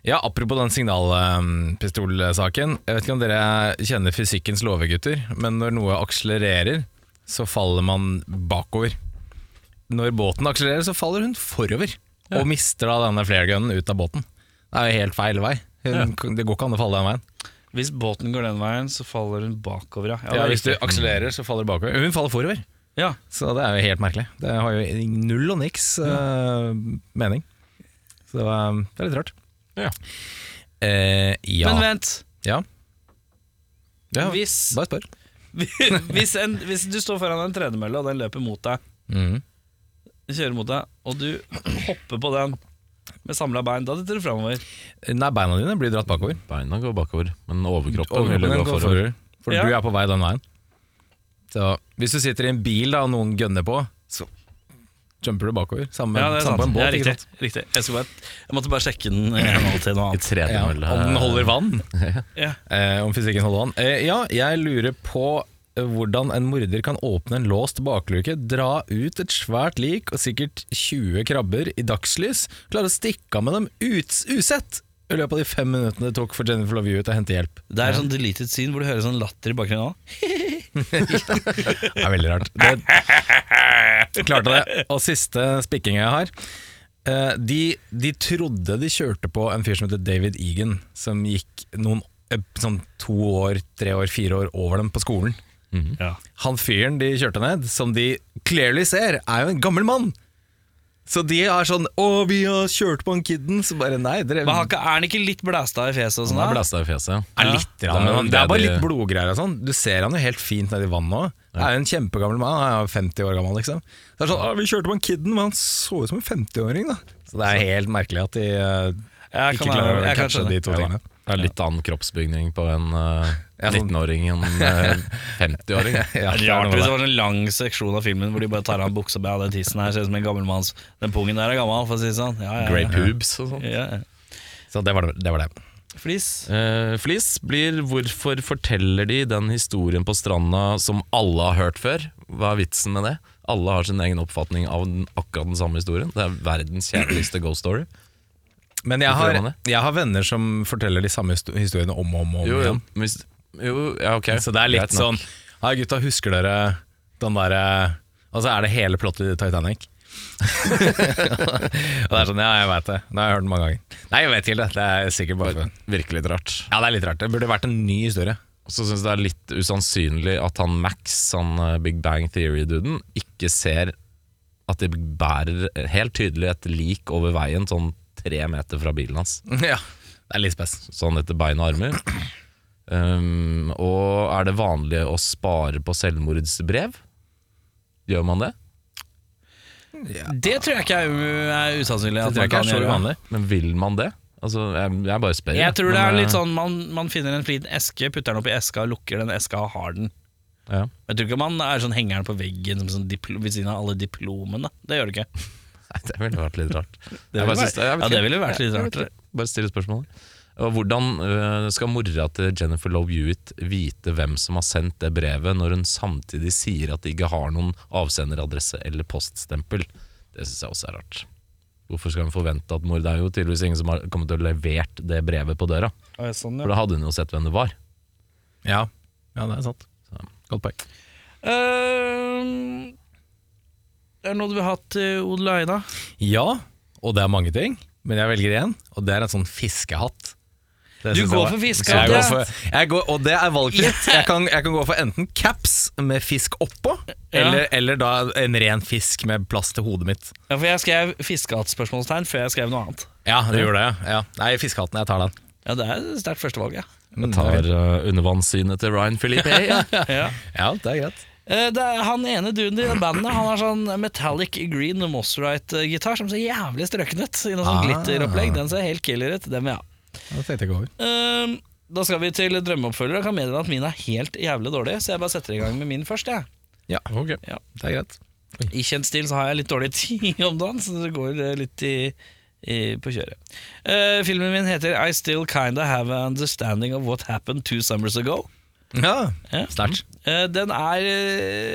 ja, apropos den signalpistolsaken. Jeg vet ikke om dere kjenner fysikkens lover, gutter, men når noe akselererer, så faller man bakover. Når båten akselererer, så faller hun forover, og mister da denne flaregunnen ut av båten. Det er jo helt feil vei. Hun, Det går ikke an å falle den veien. Hvis båten går den veien, så faller hun bakover, ja. Ja, det Ja, er hvis du riktig. akselererer, så faller du bakover. Hun faller forover, ja. så det er jo helt merkelig. Det har jo null og niks eh, mening. Så eh, det er litt rart. Ja. Eh, ja. Men vent. ja. Ja, Hvis, Bare spør. hvis, en, hvis du står foran en tredemølle, og den løper mot deg, Mhm. kjører mot deg, og du hopper på den med samla bein, da detter du framover. Nei, beina dine blir dratt bakover. Beina går bakover, men overkroppen vil Overkroppen jo din gå går forover. forover. For Ja. du er på vei den veien. Så hvis du sitter i en bil da, og noen gønner på, så jumper du bakover. Samme, Ja, det er samme sant. på en båt. ja, ikke riktig, sant? riktig. Jeg, skulle bare, jeg måtte bare sjekke den i henhold til noe I annet. Ja, tredemølle. om den holder vann. Ja. Eh, om fysikken holder vann. Eh, ja, jeg lurer på eh, hvordan en morder kan åpne en låst bakluke, dra ut et svært lik og sikkert 20 krabber i dagslys, klare å stikke av med dem ut, usett i løpet av de fem minuttene det tok for Jennifer Love Hewitt å hente hjelp. Det er sånn deleted scene hvor du hører sånn latter i bakgrunnen òg. Det er veldig rart. Det, klarte det. Og siste spikking jeg har. Eh, De, de trodde de kjørte på en fyr som heter David Egan, som gikk noen eh, sånn to år, tre år, fire år over dem på skolen. Ja. Mm. Han fyren de kjørte ned, som de clearly ser, er jo en gammel mann. Så de er sånn 'Å, vi har kjørt på han kidden', så bare nei. Dere Men har ikke- er han ikke litt blæsta i fjeset og sånn? Han er da? blæsta i fjeset. Ja, litt, rann, men han, det det er bare de- litt blodgreier og sånn. Du ser han jo helt fint nedi vannet òg. Er jo en kjempegammel mann, han er jo 50 år gammel, liksom. Så det er sånn, «Å, Vi kjørte på han kidden, men han så ut som en 50-åring, da. Så det er helt merkelig at de eh, Jeg ikke kan være- klarer å jeg kan catche skjønne. de to Ja, tingene. Det er litt annen kroppsbygning på en eh, Ja, sånn- 19-åring enn eh, en 50-åring. Ja, det er noe Rart hvis med det. det var en lang seksjon av filmen hvor de bare tar av buksa med ja, den tissen her, ser ut som en gammel manns Den pungen der er gammel, for å si det sånn. Ja, ja, ja. Grey boobs og sånn. Ja, ja. Så det var det. det, var det. Flis. Eh, flis blir hvorfor forteller de den historien på stranda som alle har hørt før? Hva er vitsen med det? Alle har sin egen oppfatning av den, akkurat den samme historien. Det er verdens kjedeligste ghost story. Men jeg Hvorfor har, gjør man det? jeg har venner som forteller de samme histo- historiene om og om, og om Jo, jo, igjen. men hvis- jo, ja, ok. Så det er litt Greit nok. sånn Hei gutta, husker dere den derre Og så er det hele plottet i Titanic. og det er sånn, ja, jeg veit det. Det har jeg hørt mange ganger. Nei, jeg vet ikke det. Det er sikkert bare for Virkelig litt rart. Ja, det er litt rart. Det burde vært en ny historie. Så syns jeg det er litt usannsynlig at han Max, han eh, Big Bang Theory-duden, ikke ser at de bærer helt tydelig et lik over veien, sånn tre meter fra bilen hans. ja, det er litt spes. sånn etter bein og armer. Um, og er det vanlig å spare på selvmordsbrev? Gjør man det? Det tror jeg ikke er, er usannsynlig. Det at tror man jeg ikke kan er så gjøre. uvanlig. Men vil man det? Altså, jeg, jeg bare spør. Jeg tror det Men, er eh, litt sånn man, man finner en liten eske, putter den opp i eska, lukker den eska og har den. ja. Jeg tror ikke man er sånn henger den på veggen som sånn diplo, ved siden av alle diplomene. Det gjør du ikke. Nei, det ville vært litt rart. Det Jeg bare ville synes- jeg vært, vet ja, det ikke. ville vært litt Jeg rart. vet ikke. Bare stille spørsmålet. Og hvordan øh, skal mora til Jennifer Love Hewitt vite hvem som har sendt det brevet, når hun samtidig sier at de ikke har noen avsenderadresse eller poststempel? Det syns jeg også er rart. Hvorfor skal hun forvente at mor Det er jo tydeligvis ingen som har kommet til å levert det brevet på døra. Ja, sånn, ja. For da hadde hun jo sett hvem det var. Ja. ja, det er sant. Godt poeng. Ehm, er det noe du vil ha til Odel og Aina? Ja, og det er mange ting, men jeg velger én, og det er en sånn fiskehatt. Det Du synes jeg går var- for fiskehatt, jeg går ja. for, jeg går, Og det er valgfritt. Jeg, kan- jeg kan gå for enten caps med fisk oppå, Ja. eller, eller da en ren fisk med plass til hodet mitt. Ja, for jeg skrev fiskehatt-spørsmålstegn før jeg skrev noe annet. Ja, du gjorde det? Ja. Nei, fiskehatten. Jeg tar den. Ja, det er sterkt førstevalg, ja. Jeg tar øh, undervannssynet til Ryan Philippe. ja. Ja, det er greit. Eh, Det er han ene duden i det bandet Han har sånn metallic green Mosrite-gitar som ser jævlig strøken ut. I noe sånn Ah. glitteropplegg. Den ser helt killer ut. Den vil jeg ha. Det tenkte jeg ikke over. Ehm, da skal vi til drømmeoppfølgere. Jeg kan meddele at min er helt jævlig dårlig, så jeg bare setter i gang med min først. Jeg. Ja, ok. Ja. Det er greit. I kjent stil så har jeg litt dårlig tid om dagen, så det går eh, litt i, i, på kjøret. Eh, filmen min heter I Still Kinda Have An Understanding of What Happened Two Summers Ago. Ja, Mm. Ja. Sterkt. Eh, den er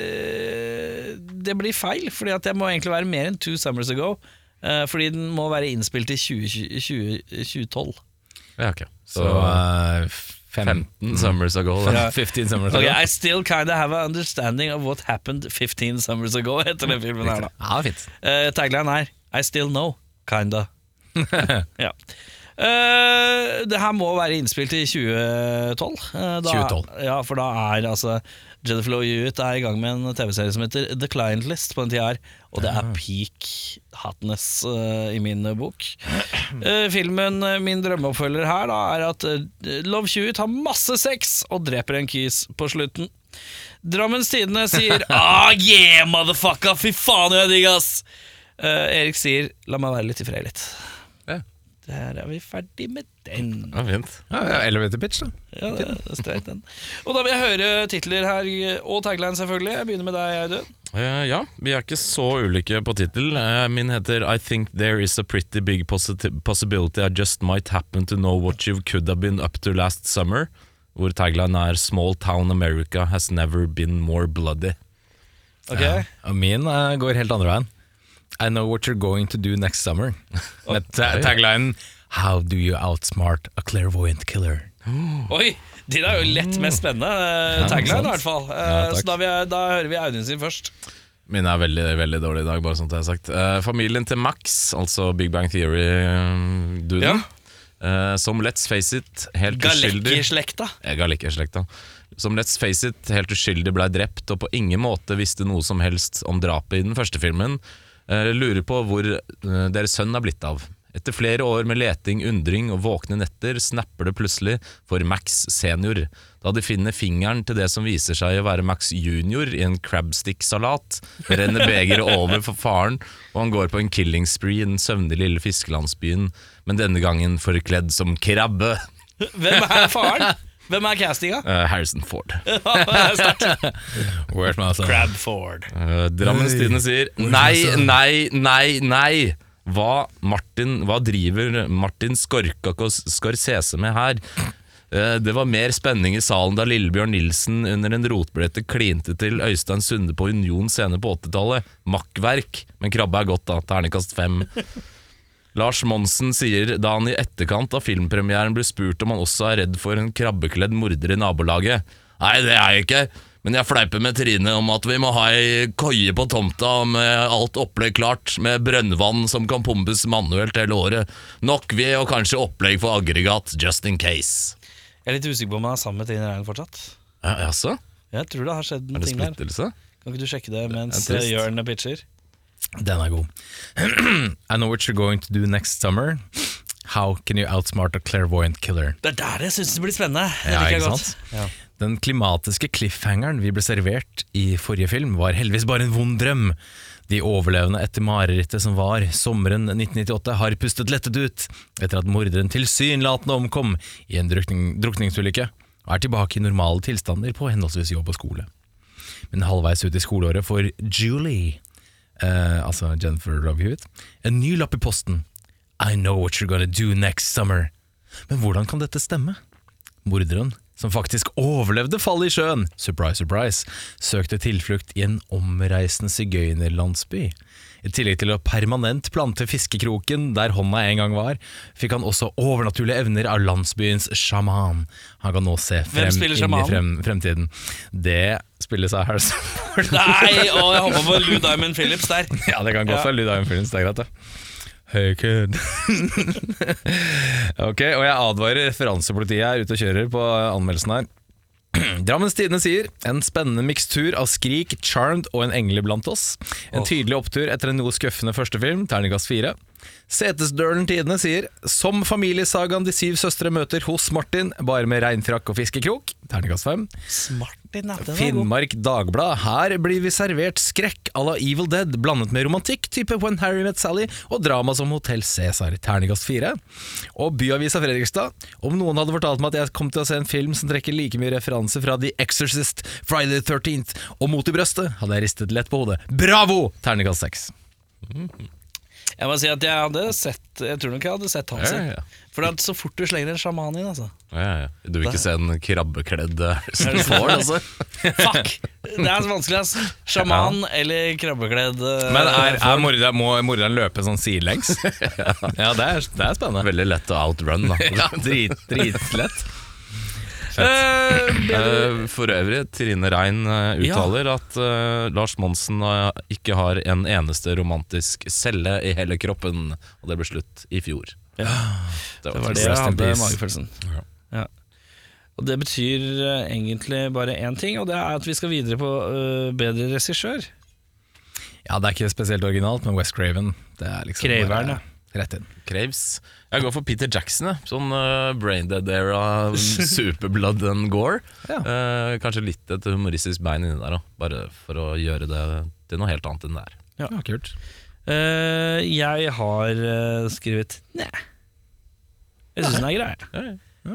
eh, Det blir feil, fordi at jeg må egentlig være mer enn Two Summers Ago. eh, fordi den må være innspilt i 2020 2012. Ja, ok. Så Så, uh, fem, 15 summers ago. Da. 15 summers ago. Ok, Ja, I still kinda have an understanding of what happened 15 summers ago, heter den filmen her da. fint. Eh, tagline er I still know, kinda. ja. Eh, det her må være innspilt i 2012. Eh, da, 2012. Ja, for da er altså Jennifer Lowe Hewitt er i gang med en TV-serie som heter The Client List på den tida her. Og det er peak hotness eh, i min eh, bok. Eh, filmen eh, min drømmeoppfølger her da er at eh, Love Hewitt har masse sex og dreper en kis på slutten. Drammens Tidende sier Ah yeah, motherfucker, fy faen jeg digg ass Eh, Erik sier, la meg være litt i fred litt Ja. Der er vi ferdig med den Ja, fint. Ja, ja, elevator pitch, da. Ja, det er streit den Og da vil jeg høre titler her Og tagline selvfølgelig, jeg begynner med deg Audun Eh, ja, vi er ikke så ulike på tittel. Eh, min heter I think there is a pretty big possi- possibility I just might happen to know what you could have been up to last summer. Hvor tagline er Small town America has never been more bloody. Ok, Og min eh, går helt andre veien. I know what you're going to do next summer. Med ta taglinen How do you outsmart a clairvoyant killer? oi din er jo lett mest spennende eh, Ja, Tagline sant. i hvert fall Eh, Ja, takk. Så da, vil jeg, da hører vi Audun sin først Min er veldig veldig dårlig i dag, bare sånn at jeg har sagt. Eh, familien til Max, altså Big Bang Theory-duden, eh, Ja. som let's face it, helt uskyldig Galecki-slekta Jeg har like slekta. Som let's face it, helt uskyldig blei drept og på ingen måte visste noe som helst om drapet i den første filmen. eh, lurer på hvor eh, deres sønn er blitt av. Etter flere år med leting, undring og våkne netter snapper det plutselig for Max senior, da de finner fingeren til det som viser seg å være Max junior i en crabstick-salat. Renner begeret over for faren, og han går på en killing spree i den søvnige lille fiskelandsbyen, men denne gangen forkledd som krabbe. Hvem er faren? Hvem er castinga? Eh, Harrison Ford. Where's my son? Crabford. Eh, Drammens Tidende sier Nei, nei, nei, nei hva, Martin, hva driver Martin Skorkak og Scorsese med her? Eh, Det var mer spenning i salen da Lillebjørn Nilsen under en rotblete klinte til Øystein Sunde på Union scene på 80-tallet. Makkverk, men krabbe er godt da. Ternekast fem. Lars Monsen sier da han i etterkant av filmpremieren ble spurt om han også er redd for en krabbekledd morder i nabolaget. Nei, det er jeg ikke, men jeg fleiper med Trine om at vi må ha ei koie på tomta med alt opplegg klart, med brønnvann som kan pumpes manuelt hele året. Nok ved og kanskje opplegg for aggregat, just in case. Jeg er litt usikker på om han er sammen med Trine Rein fortsatt. Jaså? Jeg tror det har skjedd Er en det ting der. splittelse? Kan ikke du sjekke det mens Det er trist. Jørn pitcher? Den er god. I know what you're going to do next summer. How can you outsmart a clairvoyant killer? Det er der jeg syns det blir spennende. Det Ja, liker jeg ikke godt. sant? Ja. Den klimatiske cliffhangeren vi ble servert i forrige film, var heldigvis bare en vond drøm. De overlevende etter marerittet som var sommeren 1998, har pustet lettet ut etter at morderen tilsynelatende omkom i en drukning, drukningsulykke, og er tilbake i normale tilstander på henholdsvis jobb og skole. Men halvveis ut i skoleåret får Julie, eh, altså Jennifer Love Hewitt, en ny lapp i posten. I know what you're gonna do next summer. Men hvordan kan dette stemme? Morderen, som faktisk overlevde fallet i sjøen, surprise, surprise, søkte tilflukt i en omreisende sigøynerlandsby. I tillegg til å permanent plante fiskekroken der hånda en gang var, fikk han også overnaturlige evner av landsbyens sjaman. Han kan nå se frem spiller inn i sjamanen? frem, fremtiden. Det spilles av Harrison Ford. Nei, å, jeg håpa på Lou Diamond Phillips der. Ja, det kan godt Ja. være lyd av en film, så det er greit, det. Hey kid. ok, og jeg advarer referansepolitiet her ute og kjører på anmeldelsen her. Drammens Tidende sier en spennende mikstur av Skrik, Charmed og En engle blant oss. En tydelig opptur etter en noe skuffende første film, terningkast fire. Setesdølen Tidende sier som familiesagaen De syv søstre møter hos Martin, bare med regnfrakk og fiskekrok, terningkast fem. Smartin, ja. Den var god. Finnmark Dagblad. Her blir vi servert skrekk à la Evil Dead, blandet med romantikk type When Harry Met Sally og drama som Hotell Cæsar, terningkast fire. Og Byavisa Fredrikstad. Om noen hadde fortalt meg at jeg kom til å se en film som trekker like mye referanse fra The Exorcist, Friday the 13th og Mot i brøstet, hadde jeg ristet lett på hodet. Bravo! Terningkast seks. Jeg må si at jeg hadde sett Jeg tror nok jeg hadde sett Ja, ja, Hansi. ja. For at så fort du slenger en sjaman inn, altså. Ja, ja, ja. Du vil ikke se en krabbekledd eh, som det får, altså? Fuck! Det er så vanskelig, ass. Sjaman eller krabbekledd. eh, morderen løpe sånn sidelengs? ja, det er, spennende. Veldig lett å outrun, da. dritlett. Eh, For øvrig, Trine Rein eh, uttaler at eh, Lars Monsen eh, ikke har en eneste romantisk celle i hele kroppen. Og det ble slutt i fjor. Det Det var det jeg Rest in hadde peace. magefølelsen. Ja. Og det betyr eh, egentlig bare én ting, og det er at vi skal videre på eh, bedre regissør. Ja, det er ikke spesielt originalt, men West Craven det er liksom Kreveren, bare Rett inn. Craves. Jeg går for Peter Jackson. jeg. Sånn eh, brain dead era, superblood and gore. Ja. Eh, kanskje litt et humoristisk bein inni der òg, bare for å gjøre det til noe helt annet enn det er. Ja. kult. Eh, jeg har eh, skrevet nei. Jeg syns den er grei.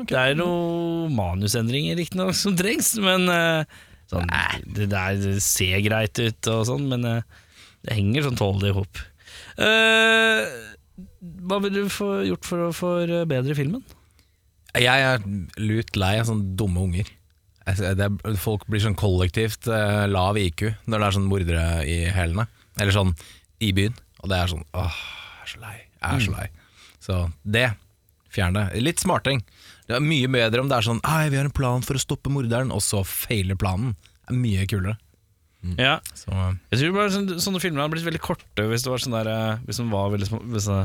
Det er noen manusendringer riktignok som trengs, men eh, sånn, det der det ser greit ut og sånn, men eh, det henger sånn tålelig i hop. Eh, hva ville du få gjort for å forbedre filmen? Jeg er lut lei av sånne dumme unger. Altså, det er, folk blir sånn kollektivt eh, lav IQ når det er sånn mordere i hælene. Eller sånn i byen. Og det er sånn åh, jeg er så lei. Jeg Mm. er så lei. Så det, fjern det. Litt smarting. Det er mye bedre om det er sånn Ei, vi har en plan for å stoppe morderen, og så feiler planen. Det er mye kulere. Ja, Så, eh, Jeg tror bare sånne, sånne filmer hadde blitt veldig korte hvis det var sånn der eh, Hvis de var veldig små hvis det,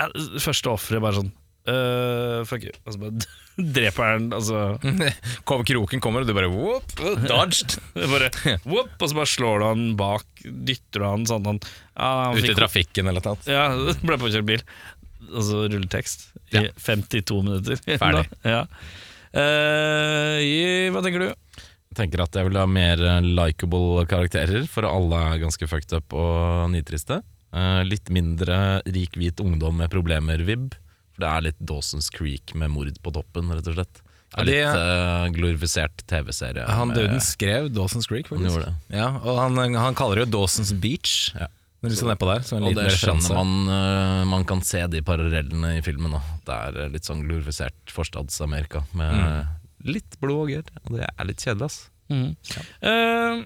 ja, Første offeret bare sånn eh, fuck you. Altså bare dreper jeg den, altså. Kom, kroken kommer, og du bare whoop, dodged. Det er Bare, whoop, og så bare slår du han bak, dytter du han sånn at han, ja, han Ute i fikk- trafikken eller noe. Ja, det ble påkjørt bil. Altså rulletekst i 52 minutter. Ferdig. Ja. Eh, i- hva tenker du? Jeg tenker at jeg vil ha mer eh, likeable karakterer, for alle er ganske fucked up og nitriste. Eh, litt mindre rik hvit ungdom med problemer-vib. For det er litt Dawson's Creek med mord på toppen, rett og slett. Ja, Det er det- litt eh, glorifisert TV-serie. Han med- døden skrev Dawson's Creek, Eh, Han faktisk. gjorde det. Ja, og han, han kaller det jo Dawson's Beach. Ja. Når du skal nedpå der, så en Og liten det skjønner referanse. man. eh, man kan se de parallellene i filmen. Da. Det er eh, litt sånn glorifisert forstads-Amerika med litt blod og gørr. Og det er litt kjedelig, ass. Mhm. Eh,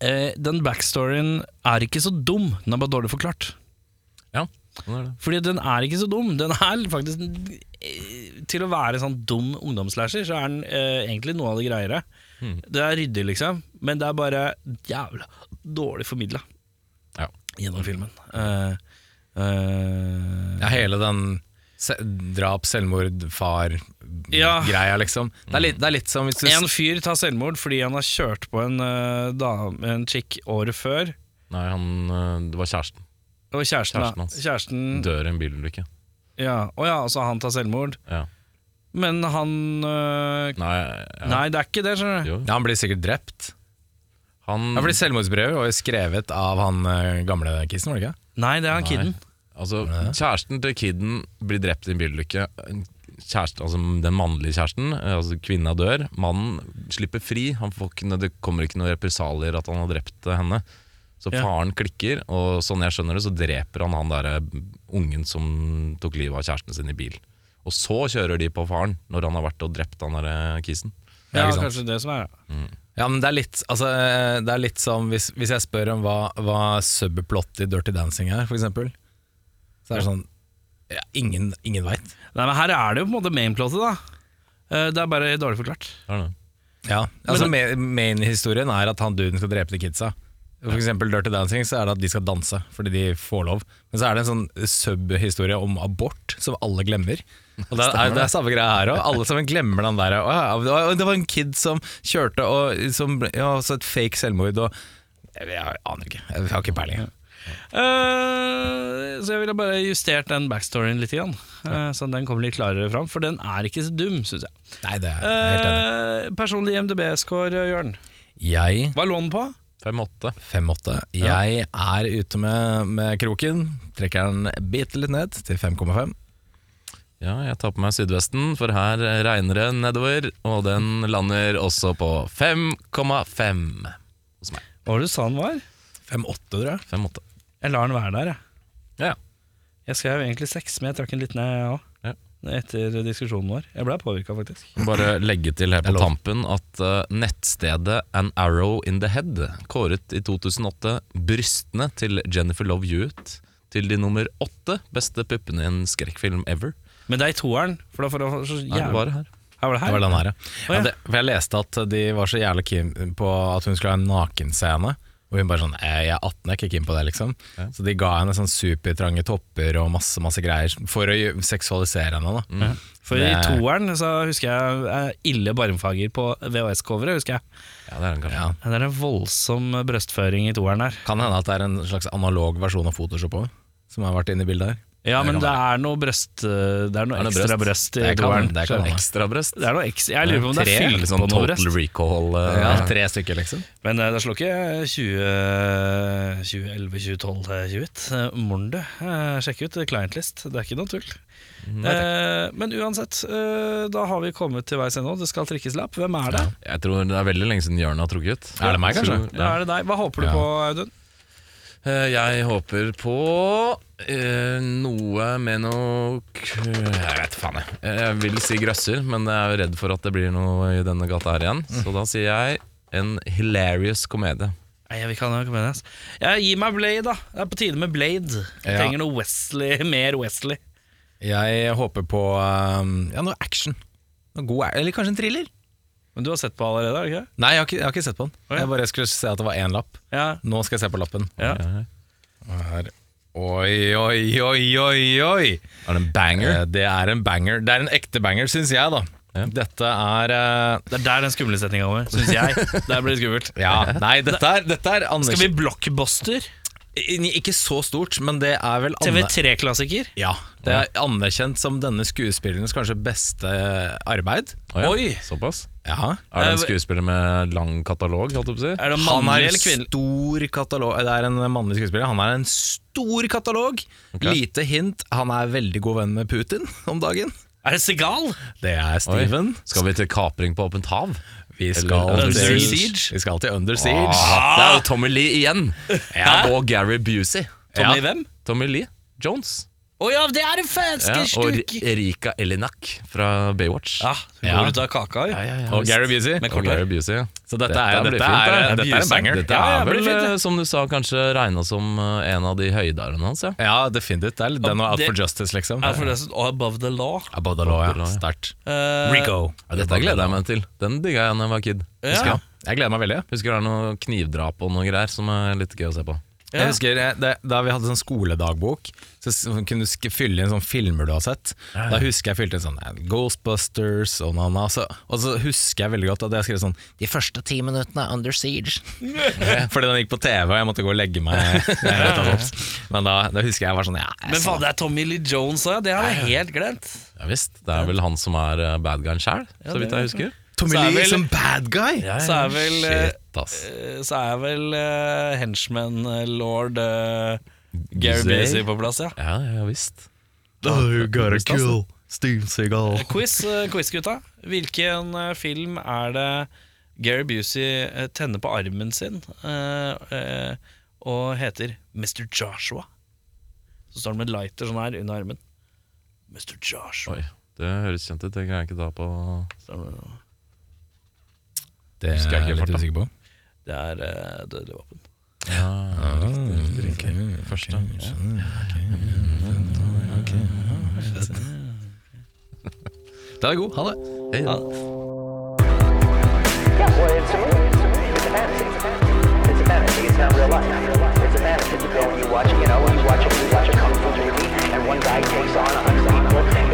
eh, den backstoryen er ikke så dum, den er bare dårlig forklart. Ja, sånn er det. Fordi den er ikke så dum. Den er faktisk eh, Til å være sånn dum ungdomsslasher, så er den eh, egentlig noe av det greiere. Hmm. Det er ryddig, liksom, men det er bare jævla dårlig formidla Ja. gjennom filmen. Eh, eh, Ja, hele den se- drap, selvmord, far Ja. greia, liksom. Det er litt, det er litt som hvis du En fyr tar selvmord fordi han har kjørt på en, eh, dame, en chick året før. Nei, han, eh, det var kjæresten. Og kjæresten, Kjæresten da. hans. kjæresten Dør i en bilulykke. ja. Å ja, så han tar selvmord. Ja. Men han øh, Nei, ja. Nei, det er ikke det, skjønner du. Jo. ja, Han blir sikkert drept. Han Ja, fordi Selvmordsbrevet var jo skrevet av han eh, gamle kissen, var det ikke? Nei, det er han Nei. kiden. Altså, kjæresten til kiden blir drept i en bilulykke. Kjæresten, altså den mannlige kjæresten, eh, altså kvinna dør. Mannen slipper fri. Han får ikke, noe- det kommer ikke noen represalier at han har drept eh, henne. Så Ja. faren klikker, og sånn jeg skjønner det, så dreper han han derre ungen som tok livet av kjæresten sin i bil. Og så kjører de på faren når han har vært og drept han derre kisen. Ja, ikke sant. kanskje det som er det. Ja, men det er litt, altså, eh, det er litt som hvis, hvis jeg spør om hva, hva subplot i Dirty Dancing er, for eksempel. Så er det sånn ja, Ingen, ingen veit. Nei, men her er det jo på en måte mainplotet, da. Eh, Det er bare dårlig forklart. Er det? Ja, altså ma- Main-historien er at han duden skal drepe de kidsa. For eksempel Dirty Dancing så er det at de skal danse fordi de får lov. Men så er det en sånn sub-historie om abort som alle glemmer. Og Det er, det er samme greia her òg. Alle sammen glemmer den der. Å, ja, det var- det var en kid som kjørte og som, ja, så et fake selvmord og jeg, jeg aner ikke. Jeg har ikke peiling. Eh, så jeg ville bare justert den backstoryen litt, grann, eh, så den kommer litt klarere fram. For den er ikke så dum, syns jeg. Nei, det er jeg helt enig. Eh, personlig MDB-score, Jørn. Jeg Hva lå den på? 5-8. 5,8. Jeg er ute med, med kroken. Trekker den bitte litt ned til 5,5. Ja, jeg tar på meg sydvesten, for her regner det nedover, og den lander også på 5,5 hos meg. Hva var det du sa den var? 5,8, tror jeg. 5,8. Jeg lar den være der, jeg. Ja, ja. Jeg skrev egentlig seks, men jeg trakk den litt ned jeg også. Ja. Etter diskusjonen vår. Jeg ble påvirka, faktisk. Bare legge til her Det på er lov. tampen at eh, nettstedet An Arrow in the Head kåret i 2008 brystene til Jennifer Love Hewitt til de nummer åtte beste puppene i en skrekkfilm ever. Men det er i toeren, for da får du så Her jævlig var det her. Her var det Det her. var den her, ja. Å, ja. ja det, for jeg leste at de var så jævlig keen på at hun skulle ha en nakenscene. Og hun bare sånn «Eh, 'Jeg er 18, jeg er ikke keen på det', liksom. Så de ga henne sånn supertrange topper og masse masse greier for å gjø- seksualisere henne. da Mm. For i Det- toeren så husker jeg eh, ille barmfarger på VHS-coveret, husker jeg. Ja, det er den kanskje. ja. Det er en voldsom brøstføring i toeren her. Kan hende at det er en slags analog versjon av Photoshop også, som har vært inne i bildet her. Ja, men det er noe brøst eh, Det er noe Er det ekstra brøst? brøst i Det kan- toeren. det kan skjønner jeg. Ekstra brøst. Det er noe ekstra Jeg lurer på om det er fylt Eller sånn på noe Total brøst. recall. eh, Ja, tre stykker, liksom. Men eh, det slår ikke 20, 2011, 2012, eh, 2021. Eh, Moren du, eh, sjekk ut eh, clientlist. Det er ikke noe tull. Eh, men uansett, eh, da har vi kommet til veis ende. Det skal trikkes lapp. Hvem er det? Jeg tror det er veldig lenge siden Jørn har trukket. Er det meg, kanskje? Da er det deg. Hva håper du Ja. på, Audun? Eh, Jeg håper på eh, noe med noe k- Jeg vet faen, jeg. Eh, Jeg vil si grøsser, men jeg er jo redd for at det blir noe i denne gata her igjen. Så da sier jeg en hilarious komedie. Nei, jeg vil ikke ha noe komedie. ass. Ja, gi meg Blade, da. Det er på tide med Blade. Jeg Ja. trenger noe Wesley, mer Wesley. Jeg håper på um, ja, noe action. Noe god, eller kanskje en thriller? Men du har sett på allerede, har du ikke? det? Nei, jeg har ikke, jeg har ikke sett på den. Å, ja. Jeg bare skulle se at det var én lapp. Ja. Nå skal jeg se på lappen. ja. Her. Oi, oi, oi, oi, oi! Er det en banger? Eh, Det er en banger. Det er en ekte banger, syns jeg, da. Dette er eh, Det er der den skumle setninga over, syns jeg. Der blir det skummelt. Ja, nei, dette er, dette er Skal Anders vi blockbuster? Ikke så stort, men det er vel Anne- TV3-klassiker? Ja, det er anerkjent som denne skuespillerens kanskje beste eh, arbeid. Å ja, Oi. Eh, Såpass? Ja. Er det en skuespiller med lang katalog? Holdt jeg på å si? Er det Han er mannlig en eller kvinnelig? stor katalog Det er en mannlig skuespiller. Han er en stor katalog. Lite hint. Han er veldig god venn med Putin om dagen. Er det Segal? Det er Oi. Steven. Skal vi til kapring på åpent hav? Vi Eller skal, Under til, Siege? vi skal til Under Siege. Ah, det er jo Tommy Lee igjen! Ja, og Gary Busey. Tommy Ja. hvem? Tommy Lee Jones. Å ja, det er en Ja, fanske og stuk! Erika Elinak fra Baywatch. Ja, hun Ja. går ut av kaka, jo. Og Gary Busey. Med Og kort Gary hår. Busey. ja. Så dette, Dette er, blir dette, fint, er, det. dette er en banger. Dette Ja, ja, er det blir vel, fint, det. eh, som du sa, kanskje regna som eh, en av de høydarene hans, ja. Ja, definitivt. Det er litt den og Out Det- for Justice, liksom. Er for det som- og Above the Law. Above the law, Above the law, ja. ja. Sterkt. Eh, Rico. Ja, Dette gleder jeg meg til. Den digga jeg da jeg var kid. Ja. Husker jeg. Jeg gleder meg veldig. Husker det er noe knivdrap og noe greier som er litt gøy å se på. Ja. Jeg husker eh, det, Da vi hadde sånn skoledagbok, så s- kunne du sk- fylle inn sånne filmer du har sett. Da husker jeg fylte inn sånn eh, Ghostbusters og noe annet. Så, og så husker jeg veldig godt at jeg skrev sånn De første ti minuttene er Under Siege. Fordi den gikk på TV, og jeg måtte gå og legge meg. rett og slett. Men da, da husker jeg jeg var sånn ja, jeg Men sa- faen, det er Tommy Lee Jones òg, ja. Det har jeg helt glemt. Ja visst, Det er vel han som er eh, bad guyen sjæl, så vidt jeg husker. Tommy så er Lee vel- som bad guy! Så er vel, eh, Shit, ass. Eh, Så er vel eh, henchman eh, lord eh, Gary Busey. Busey på plass, ja. Ja, ja, ja visst. Oh, you gotta kill Steve Seagal. Quiz, eh, quiz gutta. Hvilken eh, film er det Gary Busey eh, tenner på armen sin eh, eh, og heter Mr. Joshua? Så står han med en lighter sånn her under armen. Mr. Joshua. Oi, det høres kjent ut. Det kan jeg ikke ta på Så han med- Det Husker er jeg ikke jeg i litt farta. usikker på. Det er eh, dødelig våpen. ja, Første. Da er det god. Ha det. hei, ja. Yeah, well, it's a movie. It's a fantasy. It's a fantasy. It's not real life. It's a fantasy. You go and you watch, you know, you watch, you watch a kung fu movie, and one guy takes on a hundred people,